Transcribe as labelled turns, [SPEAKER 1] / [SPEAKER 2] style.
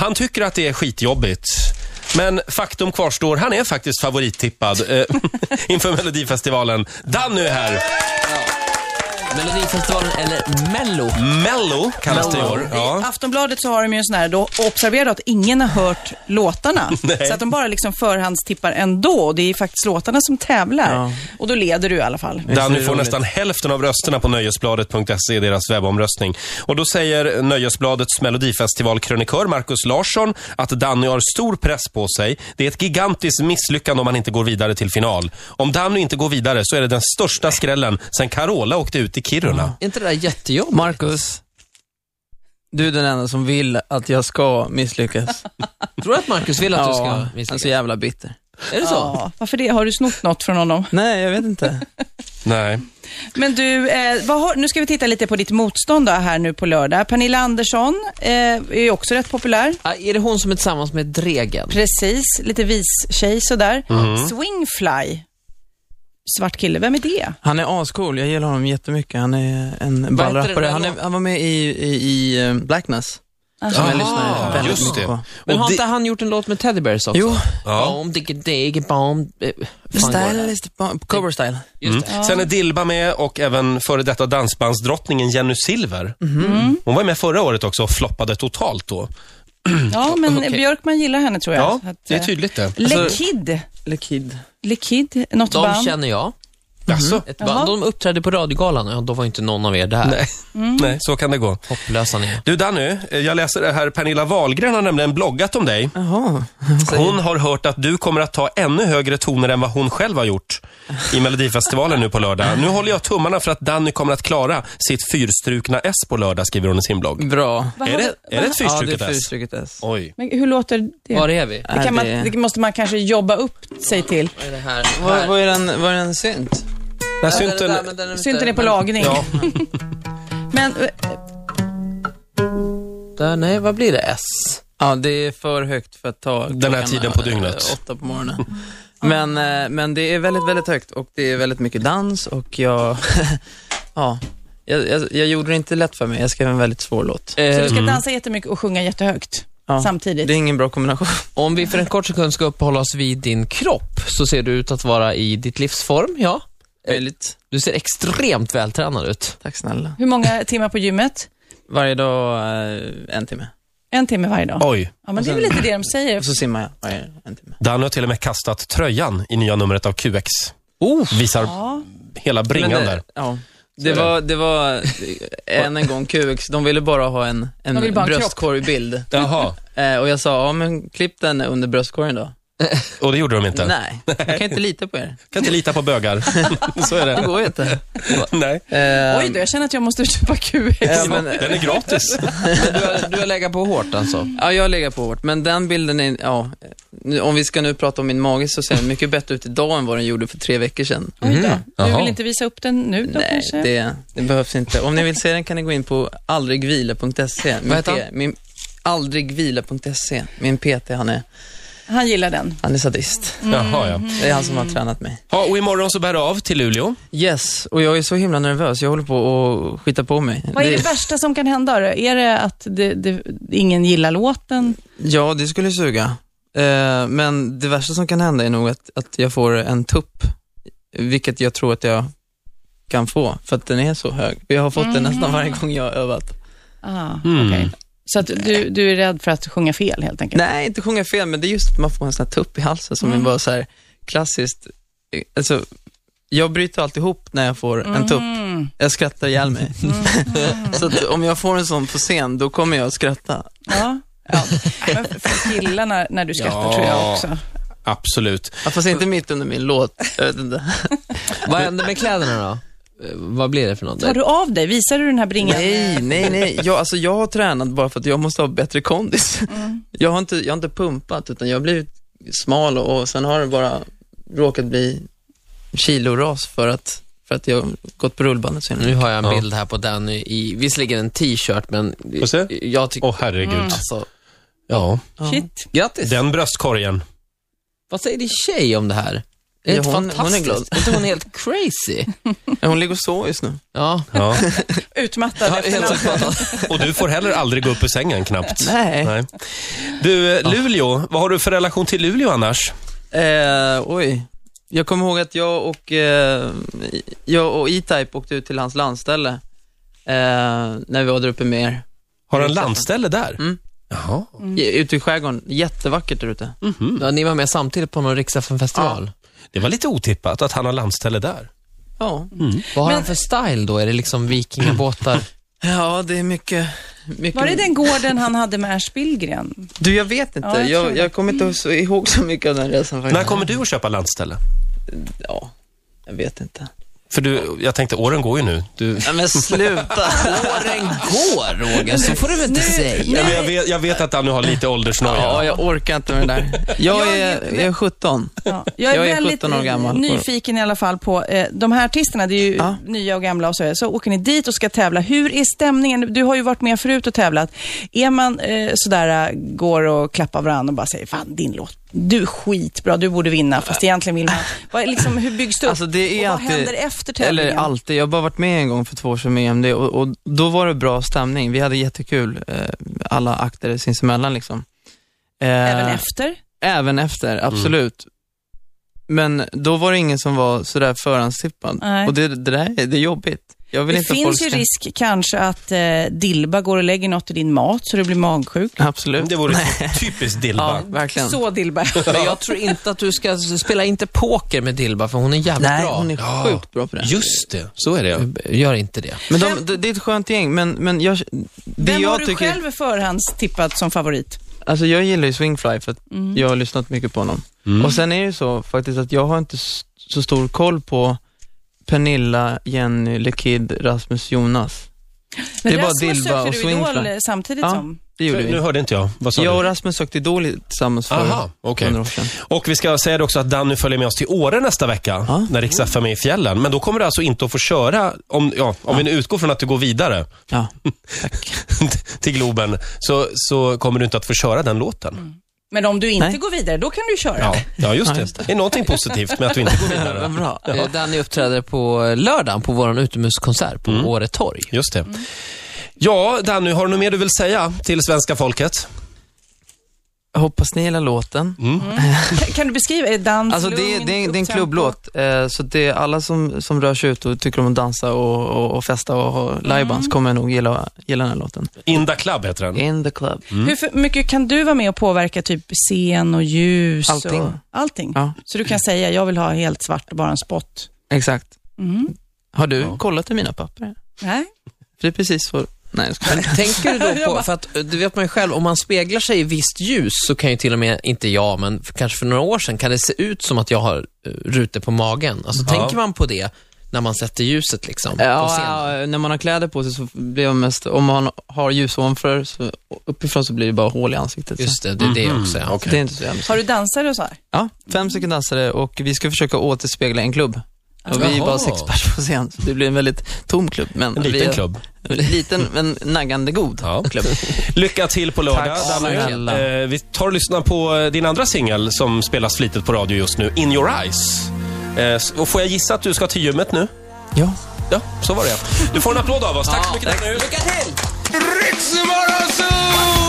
[SPEAKER 1] man tycker att det är skitjobbigt. Men faktum kvarstår, han är faktiskt favorittippad eh, inför Melodifestivalen. Danny är här.
[SPEAKER 2] Melodifestivalen eller Mello.
[SPEAKER 1] Mello kallas det i år.
[SPEAKER 3] I
[SPEAKER 1] Ja.
[SPEAKER 3] Aftonbladet så har de ju en sån här, då observerar du att ingen har hört låtarna.
[SPEAKER 1] Nej.
[SPEAKER 3] Så att de bara liksom förhandstippar ändå. Och det är faktiskt låtarna som tävlar.
[SPEAKER 2] Ja.
[SPEAKER 3] Och då leder du i alla fall.
[SPEAKER 1] Danny
[SPEAKER 2] Det är
[SPEAKER 1] får
[SPEAKER 2] roligt.
[SPEAKER 1] nästan hälften av rösterna på nöjesbladet.se, deras webbomröstning. Och då säger Nöjesbladets melodifestivalkrönikör Markus Larsson att Danny har stor press på sig. Det är ett gigantiskt misslyckande om han inte går vidare till final. Om Danny inte går vidare så är det den största skrällen sen Carola åkte ut i Kiruna.
[SPEAKER 2] Är inte det där jättejobbigt? Marcus, du är den enda som vill att jag ska misslyckas.
[SPEAKER 4] Tror du att Marcus vill att du ska
[SPEAKER 2] ja, han är
[SPEAKER 4] misslyckas?
[SPEAKER 2] så jävla bitter.
[SPEAKER 4] Är det så?
[SPEAKER 3] Ja, varför det? Har du snott något från honom?
[SPEAKER 2] Nej, jag vet inte.
[SPEAKER 1] Nej.
[SPEAKER 3] Men du, eh, vad har, nu ska vi titta lite på ditt motstånd då, här nu på lördag. Pernilla Andersson eh, är ju också rätt populär.
[SPEAKER 4] Ah, Är det hon som är tillsammans med Dregen?
[SPEAKER 3] Precis, lite vis-tjej sådär.
[SPEAKER 1] Mm.
[SPEAKER 3] Swingfly, svart kille, vem är det?
[SPEAKER 2] Han är ascool, jag gillar honom jättemycket. Han är en
[SPEAKER 4] heter
[SPEAKER 2] ballrappare.
[SPEAKER 4] den
[SPEAKER 2] Han,
[SPEAKER 4] där
[SPEAKER 2] är, han var med i, i, i eh, Blackness, som
[SPEAKER 1] Ah.
[SPEAKER 2] jag lyssnar väldigt
[SPEAKER 1] just
[SPEAKER 2] mycket
[SPEAKER 1] det.
[SPEAKER 2] på.
[SPEAKER 4] Men
[SPEAKER 1] Och
[SPEAKER 4] har
[SPEAKER 1] det-
[SPEAKER 4] inte han gjort en låt med Teddy Bears också?
[SPEAKER 2] Jo.
[SPEAKER 1] Ja.
[SPEAKER 4] Bomb, digge, digge, bomb. eh, fan går det?
[SPEAKER 2] Style is the bomb. Cover style.
[SPEAKER 4] Just det.
[SPEAKER 1] Sen är Dilba med och även före detta dansbandsdrottningen Jenny Silver.
[SPEAKER 3] Mm-hmm.
[SPEAKER 1] Hon var med förra året också och floppade totalt då.
[SPEAKER 3] Ja, men Björkman gillar henne tror jag.
[SPEAKER 1] Mm. Ja,
[SPEAKER 3] Så att,
[SPEAKER 1] det är
[SPEAKER 3] eh,
[SPEAKER 1] tydligt det.
[SPEAKER 3] Le
[SPEAKER 2] Alltså-
[SPEAKER 3] Kid,
[SPEAKER 2] Eller Kid.
[SPEAKER 3] Le Kid, något
[SPEAKER 4] De
[SPEAKER 3] band.
[SPEAKER 4] känner jag.
[SPEAKER 3] Mm.
[SPEAKER 1] Jaså?
[SPEAKER 4] Ett
[SPEAKER 3] Jaha.
[SPEAKER 4] band. De uppträdde på Radiogalan och då var inte någon av er där.
[SPEAKER 1] Nej.
[SPEAKER 3] Mm.
[SPEAKER 1] Nej, så kan det gå.
[SPEAKER 4] Hopplösa ni är.
[SPEAKER 1] Du Danny, eh, jag läser det här. Pernilla Wahlgren har nämligen bloggat om dig.
[SPEAKER 2] Jaha.
[SPEAKER 1] Hon har hört att du kommer att ta ännu högre toner än vad hon själv har gjort i Melodifestivalen nu på lördag. Nu håller jag tummarna för att Danny kommer att klara sitt fyrstrukna S på lördag, skriver hon i sin blogg.
[SPEAKER 2] Bra.
[SPEAKER 3] Vad
[SPEAKER 1] Är
[SPEAKER 3] har-
[SPEAKER 1] det, är det ett
[SPEAKER 2] Ja, det
[SPEAKER 1] fyrstruket
[SPEAKER 2] är
[SPEAKER 1] S?
[SPEAKER 2] fyrstruket S.
[SPEAKER 1] Oj.
[SPEAKER 3] Men hur låter det?
[SPEAKER 4] Var är vi?
[SPEAKER 3] Det, kan man, det måste man kanske jobba upp sig till.
[SPEAKER 4] Vad är det här?
[SPEAKER 2] Vad
[SPEAKER 4] här.
[SPEAKER 2] vad är den, vad är den synt?
[SPEAKER 1] Där
[SPEAKER 4] Ja,
[SPEAKER 1] synten...
[SPEAKER 4] den är där, men den är
[SPEAKER 3] Synten är på
[SPEAKER 4] men-
[SPEAKER 3] lagning.
[SPEAKER 1] Ja,
[SPEAKER 3] Men eh,
[SPEAKER 4] Där, nej, vad blir det? S?
[SPEAKER 2] Ja, det är för högt för att ta
[SPEAKER 1] Den här
[SPEAKER 2] klockan,
[SPEAKER 1] tiden på
[SPEAKER 2] eh,
[SPEAKER 1] dygnet.
[SPEAKER 2] Åtta på morgonen. Men, eh, men det är väldigt, väldigt högt och det är väldigt mycket dans och jag, ja, jag, jag, jag gjorde det inte lätt för mig. Jag skrev en väldigt svår låt.
[SPEAKER 3] så
[SPEAKER 4] Eh,
[SPEAKER 3] du ska dansa jättemycket och sjunga jättehögt
[SPEAKER 2] Mm. Ja,
[SPEAKER 3] samtidigt?
[SPEAKER 2] Det är ingen bra kombination.
[SPEAKER 4] Om vi för en kort sekund ska uppehålla oss vid din kropp så ser du ut att vara i ditt livsform, ja.
[SPEAKER 2] Väldigt.
[SPEAKER 4] Du ser extremt vältränad ut.
[SPEAKER 2] Tack snälla.
[SPEAKER 3] Hur många timmar på gymmet?
[SPEAKER 2] Varje dag eh, en timme.
[SPEAKER 3] En timme varje dag.
[SPEAKER 1] oj.
[SPEAKER 3] Ja, men det är väl lite det de säger.
[SPEAKER 2] Och så simmar jag varje en timme.
[SPEAKER 1] Danny har till och med kastat tröjan i nya numret av QX. Visar
[SPEAKER 3] Ja.
[SPEAKER 1] hela bringan
[SPEAKER 2] Men, eh,
[SPEAKER 1] där.
[SPEAKER 2] Ja. Det var, det var eh, än en gång QX, de ville bara ha en,
[SPEAKER 3] De
[SPEAKER 2] en
[SPEAKER 3] vill bara ha en kropp.
[SPEAKER 2] bröstkorgbild.
[SPEAKER 1] Jaha.
[SPEAKER 2] Eh, och jag sa, ja men klipp den under bröstkorgen då.
[SPEAKER 1] Och det gjorde de inte.
[SPEAKER 2] Nej, jag kan inte lita på er.
[SPEAKER 1] Kan inte lita på bögar. så är
[SPEAKER 2] Det
[SPEAKER 1] det.
[SPEAKER 2] går ju inte.
[SPEAKER 1] Nej.
[SPEAKER 2] Eh,
[SPEAKER 3] Oj då, jag känner att jag måste köpa QX.
[SPEAKER 2] eh, men,
[SPEAKER 1] Den är gratis.
[SPEAKER 4] Du har, du har legat på hårt alltså.
[SPEAKER 2] ja, jag lägger på hårt, men den bilden är, ja, nu, om vi ska nu prata om min mage så ser den mycket bättre ut idag än vad den gjorde för tre veckor sedan.
[SPEAKER 3] Oj då. Du
[SPEAKER 1] Jaha.
[SPEAKER 3] vill inte visa upp den nu då
[SPEAKER 2] Mm. Nej,
[SPEAKER 3] kanske?
[SPEAKER 2] det, det behövs inte. Om ni vill se den kan ni gå in på aldrigvila.se. Min
[SPEAKER 4] Vad heter
[SPEAKER 2] P-
[SPEAKER 4] han?
[SPEAKER 2] Min, aldrigvila.se. Min PT, han är,
[SPEAKER 3] Han gillar den. Mhm.
[SPEAKER 2] han är sadist.
[SPEAKER 1] Jaha, ja. Mm.
[SPEAKER 2] Det är han som har
[SPEAKER 3] Mm.
[SPEAKER 2] tränat mig.
[SPEAKER 1] ja. Och imorgon så bär det av till Luleå.
[SPEAKER 2] Yes, och jag är så himla nervös. Jag håller på att skita på mig.
[SPEAKER 3] Vad är det värsta som kan hända då? Är det att det, det, ingen gillar låten?
[SPEAKER 2] Ja, det skulle suga. Eh, men det värsta som kan hända är nog att, att jag får en tupp, vilket jag tror att jag kan få, för att den är så hög. Jag har fått den nästan varje gång jag har övat.
[SPEAKER 3] Ah,
[SPEAKER 2] Mm.
[SPEAKER 3] okej. Så att du, du är rädd för att sjunga fel helt enkelt?
[SPEAKER 2] Nej, inte sjunga fel, men det är just att man får en sån här tupp i halsen som är bara så här klassiskt. eh, Alltså, jag bryter alltid ihop när jag får en tupp.
[SPEAKER 3] Mm.
[SPEAKER 2] Jag skrattar ihjäl mig. så att om jag får en sån på scen, då kommer jag att skratta.
[SPEAKER 3] Ja. ja. Men folk gillar när, när du skrattar
[SPEAKER 1] Ja.
[SPEAKER 3] tror jag också.
[SPEAKER 1] Absolut.
[SPEAKER 2] Ja, Fast inte mitt under min låt. Jag vet inte.
[SPEAKER 4] Vad händer med kläderna då? Eh, Vad blir det för något?
[SPEAKER 3] Tar du av dig? Visar du den här bringan?
[SPEAKER 2] Nej, nej, nej. Jag, alltså, jag har tränat bara för att jag måste ha bättre kondis.
[SPEAKER 3] Mm.
[SPEAKER 2] Jag, har inte, jag har inte pumpat, utan jag har blivit smal och, och sen har det bara råkat bli kiloras för att, för att jag har gått på rullbandet så himla
[SPEAKER 4] Nu
[SPEAKER 2] mycket.
[SPEAKER 4] har jag en
[SPEAKER 1] Ja.
[SPEAKER 4] bild här på Danny i, visserligen en t-shirt, men
[SPEAKER 1] Får se?
[SPEAKER 4] jag tycker,
[SPEAKER 1] Åh, herregud.
[SPEAKER 4] alltså,
[SPEAKER 1] Ja.
[SPEAKER 3] Shit.
[SPEAKER 4] grattis.
[SPEAKER 1] Den bröstkorgen.
[SPEAKER 4] Vad säger din tjej om det här? Är
[SPEAKER 2] Ja,
[SPEAKER 4] inte
[SPEAKER 2] hon- hon är
[SPEAKER 4] fantastiskt?
[SPEAKER 2] glad.
[SPEAKER 4] Är inte hon helt crazy?
[SPEAKER 2] Ja, Hon ligger och sover just nu.
[SPEAKER 4] Ja.
[SPEAKER 1] Ja.
[SPEAKER 3] Utmattad
[SPEAKER 4] Ja,
[SPEAKER 3] efter
[SPEAKER 4] helt
[SPEAKER 3] natten.
[SPEAKER 4] uppfattat.
[SPEAKER 1] Och du får heller aldrig gå upp ur sängen knappt.
[SPEAKER 2] Nej.
[SPEAKER 1] Nej. Du, eh, Luleå. Vad har du för relation till Luleå annars?
[SPEAKER 2] Eh, oj. Jag kommer ihåg att jag och, eh, jag och E-Type åkte ut till hans landställe eh, när vi var där uppe med er.
[SPEAKER 1] Har du en
[SPEAKER 2] Utsatta.
[SPEAKER 1] landställe där?
[SPEAKER 2] Mm.
[SPEAKER 1] Jaha.
[SPEAKER 2] Ge- Ute i skärgården. Jättevackert där ute.
[SPEAKER 3] Mm.
[SPEAKER 1] Mhm.
[SPEAKER 4] Ja, ni var med samtidigt på någon Riksdagen-festival.
[SPEAKER 1] Det var lite otippat att han har landställe
[SPEAKER 2] Mm.
[SPEAKER 1] där.
[SPEAKER 2] Ja.
[SPEAKER 4] Vad har han för style då? Är det liksom vikingabåtar?
[SPEAKER 2] ja, det är mycket... mycket
[SPEAKER 3] Var det den gården han hade med Ers Billgren?
[SPEAKER 2] Du, jag vet inte.
[SPEAKER 3] Ja, jag
[SPEAKER 2] jag,
[SPEAKER 3] tror
[SPEAKER 2] jag,
[SPEAKER 3] det.
[SPEAKER 2] kommer inte så, ihåg så mycket av den resan faktiskt.
[SPEAKER 1] När kommer du att köpa landställe?
[SPEAKER 2] Ja, jag vet inte.
[SPEAKER 1] För du, jag tänkte, åren går ju nu. Du...
[SPEAKER 2] Nej, men sluta.
[SPEAKER 4] Åren går, Roger, så får du väl inte säga.
[SPEAKER 1] Ja, men jag, vet, jag vet att Danny har lite åldersnoja.
[SPEAKER 2] ja, jag orkar inte med det där. Jag
[SPEAKER 3] Jag
[SPEAKER 2] är,
[SPEAKER 3] är-
[SPEAKER 2] jag är 17.
[SPEAKER 3] Ja. Jag är,
[SPEAKER 2] Jag är
[SPEAKER 3] väldigt
[SPEAKER 2] 17 år gammal.
[SPEAKER 3] nyfiken i alla fall på eh, de här artisterna. Det är ju
[SPEAKER 2] Ja.
[SPEAKER 3] nya och gamla och så. vidare. Så åker ni dit och ska tävla. Hur är stämningen? Du har ju varit med förut och tävlat. Är man eh, sådär, eh, går och klappar varandra och bara säger, fan din låt, du är skitbra, du borde vinna, fast egentligen vill man. Vad, är liksom, hur byggs det upp?
[SPEAKER 2] Alltså, det är
[SPEAKER 3] och
[SPEAKER 2] alltid-
[SPEAKER 3] vad händer efter tävlingen?
[SPEAKER 2] Eller alltid. Jag har bara varit med en gång för två år sedan med EMD och, och då var det bra stämning. Vi hade jättekul, eh, alla akter sinsemellan liksom. Eh,
[SPEAKER 3] Även efter?
[SPEAKER 2] Även efter, absolut. Men då var det ingen som var sådär förhandstippad.
[SPEAKER 3] Nej.
[SPEAKER 2] Och det, det där är- det är jobbigt. Jag vill
[SPEAKER 3] Det
[SPEAKER 2] inte att folk
[SPEAKER 3] finns ju
[SPEAKER 2] ska-
[SPEAKER 3] risk kanske att eh, Dilba går och lägger något i din mat så du blir magsjuk.
[SPEAKER 2] Absolut.
[SPEAKER 1] Det vore typiskt Dilba.
[SPEAKER 2] Ja, verkligen.
[SPEAKER 3] Så Dilba.
[SPEAKER 4] Men jag tror inte att du ska spela inte poker med Dilba, för hon är jävligt
[SPEAKER 2] Nej,
[SPEAKER 4] bra.
[SPEAKER 2] hon är
[SPEAKER 1] Ja.
[SPEAKER 2] sjukt bra på det.
[SPEAKER 1] Just det, Mm. så är det. ja.
[SPEAKER 4] Gör inte det.
[SPEAKER 2] Men de, det, det är ett skönt gäng, men, men jag, det
[SPEAKER 3] Vem
[SPEAKER 2] jag
[SPEAKER 3] har du
[SPEAKER 2] tycker,
[SPEAKER 3] själv förhandstippat som favorit?
[SPEAKER 2] alltså jag gillar ju Swingfly för att
[SPEAKER 3] Mm.
[SPEAKER 2] jag har lyssnat mycket på honom.
[SPEAKER 1] Mm.
[SPEAKER 2] Och sen är det ju så faktiskt att jag har inte s- så stor koll på Pernilla, Jenny, Lekid, Rasmus, Jonas.
[SPEAKER 3] Men
[SPEAKER 2] Det är bara
[SPEAKER 3] Rasmus
[SPEAKER 2] Dilba
[SPEAKER 3] sökte
[SPEAKER 2] och
[SPEAKER 3] du
[SPEAKER 2] Swingfly.
[SPEAKER 3] Idol, eh, samtidigt
[SPEAKER 2] Ja.
[SPEAKER 3] som.
[SPEAKER 2] Det gjorde
[SPEAKER 1] Nu
[SPEAKER 2] vi.
[SPEAKER 1] hörde inte jag. Vad sa
[SPEAKER 2] Jag och
[SPEAKER 1] du?
[SPEAKER 2] Rasmus sökte Idol tillsammans för
[SPEAKER 1] Aha, okej.
[SPEAKER 2] några år sedan.
[SPEAKER 1] Och vi ska säga det också att Danny följer med oss till Åre nästa vecka,
[SPEAKER 2] Ja.
[SPEAKER 1] när Rix FM är i fjällen. Men då kommer du alltså inte att få köra, om, ja, om vi nu utgår från att du går vidare
[SPEAKER 2] Ja.
[SPEAKER 1] till Globen, så, så kommer du inte att få köra den låten.
[SPEAKER 3] Men om du inte
[SPEAKER 2] Nej.
[SPEAKER 3] går vidare, då kan du köra.
[SPEAKER 1] Ja, ja, just
[SPEAKER 2] Mm. Ja,
[SPEAKER 1] det.
[SPEAKER 2] just
[SPEAKER 1] Det är någonting positivt med att du inte går
[SPEAKER 2] Vad
[SPEAKER 1] vidare.
[SPEAKER 2] bra.
[SPEAKER 4] Eh, Danny uppträder på lördagen på vår utomhuskonsert på
[SPEAKER 2] Mm.
[SPEAKER 4] Åre torg.
[SPEAKER 1] Just det. Ja, Danny, har du något mer du vill säga till svenska folket?
[SPEAKER 2] Jag hoppas ni gillar låten.
[SPEAKER 3] Kan- Kan du beskriva? Är dans,
[SPEAKER 2] Alltså det, är-
[SPEAKER 3] lugn,
[SPEAKER 2] det, är, det är en
[SPEAKER 3] upptempo?
[SPEAKER 2] klubblåt, eh, så det är alla som, som rör sig ut och tycker om att dansa och, och, och festa och ha livebands kommer nog gilla, gilla den här låten.
[SPEAKER 1] Inda Club heter den.
[SPEAKER 2] In the club.
[SPEAKER 3] Hur för mycket kan du vara med och påverka typ scen och ljus?
[SPEAKER 2] Allting.
[SPEAKER 3] Och allting?
[SPEAKER 2] Ja.
[SPEAKER 3] Så du kan säga, jag vill ha helt svart och bara en spot.
[SPEAKER 2] Exakt.
[SPEAKER 3] Mm.
[SPEAKER 2] Har du kollat i mina papper?
[SPEAKER 3] Nej.
[SPEAKER 2] För det är precis så... Nej, jag skojar.
[SPEAKER 4] Men tänker du då på, för att eh, det vet man ju själv, om man speglar sig i visst ljus så kan ju till och med, inte jag, men för, kanske för några år sedan, kan det se ut som att jag har eh, rutor på magen. Alltså
[SPEAKER 1] Ja.
[SPEAKER 4] tänker man på det när man sätter ljuset liksom på scenen?
[SPEAKER 2] Ja, ja, när man har kläder på sig så blir man mest, om man har ljus ovanför, så uppifrån så blir det bara hål i ansiktet. Så.
[SPEAKER 4] Just det, det är det också ja.
[SPEAKER 2] mm, Det är inte så jävla
[SPEAKER 3] Har du dansare och så här?
[SPEAKER 2] Ja, fem stycken dansare och vi ska försöka återspegla en klubb. Och vi är
[SPEAKER 1] Jaha.
[SPEAKER 2] bara sex pers på scen, så det blir en väldigt tom klubb. Men
[SPEAKER 1] En
[SPEAKER 2] vi
[SPEAKER 1] liten
[SPEAKER 2] är,
[SPEAKER 1] klubb.
[SPEAKER 2] Liten, men naggande god
[SPEAKER 1] Ja.
[SPEAKER 2] klubb.
[SPEAKER 1] Lycka till på lördag,
[SPEAKER 2] Tack snälla.
[SPEAKER 1] Danny. Eh, vi tar och lyssnar på eh, din andra singel som spelas flitigt på radio just nu, In Your Eyes. Eh, s- och får jag gissa att du ska till gymmet nu?
[SPEAKER 2] Ja.
[SPEAKER 1] Ja, så var det. Du får en applåd av oss. Tack så mycket. Danny.
[SPEAKER 4] Lycka till!
[SPEAKER 5] Ritzmorgonzoo!